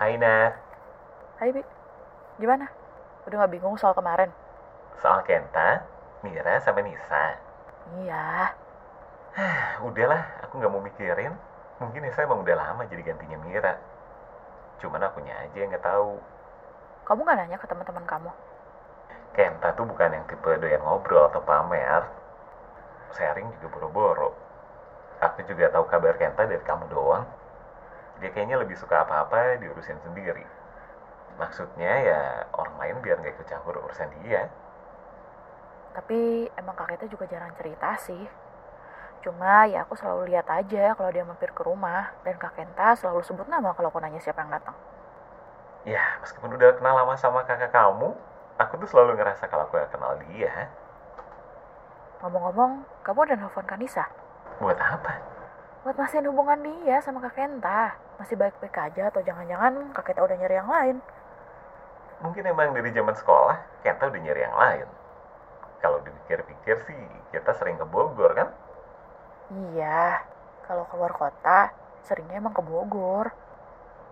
Nina, Hai Bi, gimana? Udah gak bingung soal kemarin? soal Kenta, Mira sama Nisa. Iya, Udahlah, aku nggak mau mikirin. Mungkin Nisa emang udah lama jadi gantinya Mira. Cuman akunya aja yang nggak tahu. kamu gak nanya ke teman-teman kamu? Kenta tuh bukan yang tipe doyan ngobrol atau pamer. Sharing juga boro-boro. Aku juga tahu kabar Kenta dari kamu doang. Dia kayaknya lebih suka apa-apa diurusin sendiri. Maksudnya ya orang lain biar nggak ikut campur urusan dia. Tapi emang kakeknya juga jarang cerita sih. Cuma ya aku selalu lihat aja kalau dia mampir ke rumah. Dan Kak Kenta selalu sebut nama kalau aku nanya siapa yang datang. Ya, meskipun udah kenal lama sama kakak kamu, aku tuh selalu ngerasa kalau aku gak kenal dia. Ngomong-ngomong, kamu udah nelfon Kanisa? Buat apa? Buat mastiin hubungan dia sama Kak Kenta. Masih baik-baik aja atau jangan-jangan Kak Kenta udah nyari yang lain. Mungkin emang dari zaman sekolah, Kenta udah nyari yang lain. Kalau dipikir-pikir sih, kita sering ke Bogor kan? Iya, kalau keluar kota seringnya emang ke Bogor.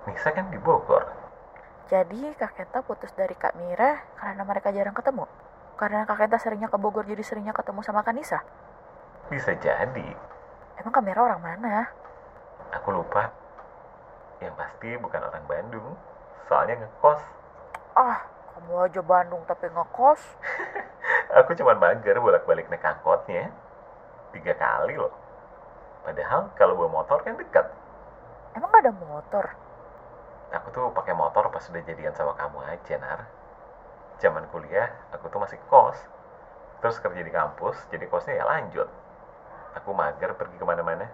Nisa kan di Bogor. Jadi Kak Kenta putus dari Kak Mira karena mereka jarang ketemu. Karena Kak Kenta seringnya ke Bogor jadi seringnya ketemu sama Kanisa. Bisa jadi. Emang Kak Mira orang mana? Aku lupa. Yang pasti bukan orang Bandung. Soalnya ngekos. Ah, kamu aja Bandung tapi ngekos. Aku cuma mager bolak-balik naik angkotnya. Tiga kali loh. Padahal kalau bawa motor kan dekat. Emang gak ada motor? Aku tuh pakai motor pas udah jadian sama kamu aja, Nar. Zaman kuliah, aku tuh masih kos. Terus kerja di kampus, jadi kosnya ya lanjut. Aku mager pergi kemana-mana.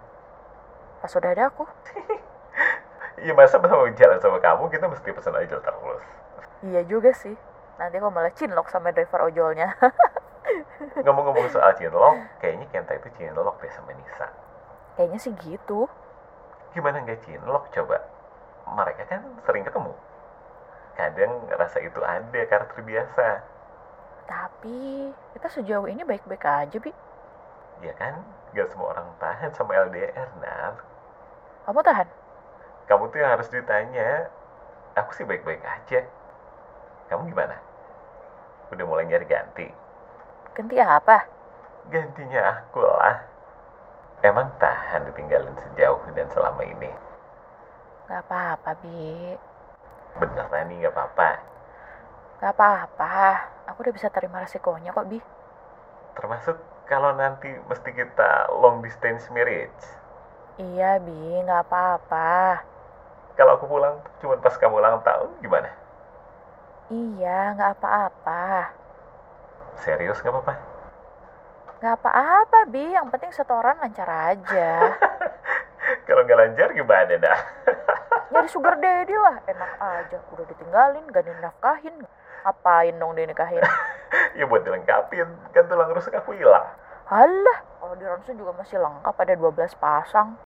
Pas udah ada aku. Iya masa mau jalan sama kamu, kita mesti pesan ojol terus. Iya juga sih. Nanti aku malah cinlok sama driver ojolnya. Ngomong-ngomong soal cinlok, kayaknya Kenta itu cinlok deh sama Nisa. Kayaknya sih gitu. Gimana nggak cinlok coba? Mereka kan sering ketemu. Kadang rasa itu ada karena terbiasa. Tapi kita sejauh ini baik-baik aja, Bi. Ya kan, nggak semua orang tahan sama LDR, Nar. Kamu tahan? Kamu tuh yang harus ditanya. Aku sih baik-baik aja. Kamu gimana? Udah mulai nyari ganti. Ganti apa? Gantinya aku lah. Emang tahan ditinggalin sejauh dan selama ini. Gak apa-apa, Bi. Beneran nih nggak apa-apa. Gak apa-apa. Aku udah bisa terima resikonya kok, Bi. Termasuk kalau nanti mesti kita long distance marriage. Iya, Bi. Gak apa-apa. Kalau aku pulang cuma pas kamu ulang tahun gimana? Iya, gak apa-apa. Serius nggak apa-apa? Gak apa-apa, Bi. Yang penting setoran lancar aja. Kalau nggak lancar gimana dah? Nyari sugar daddy lah. Enak aja. Udah ditinggalin, gak dinafkahin. Ngapain dong dinikahin? Ya buat dilengkapin, kan tulang rusuk aku hilang. Alah, kalau di Ronsen juga masih lengkap ada 12 pasang.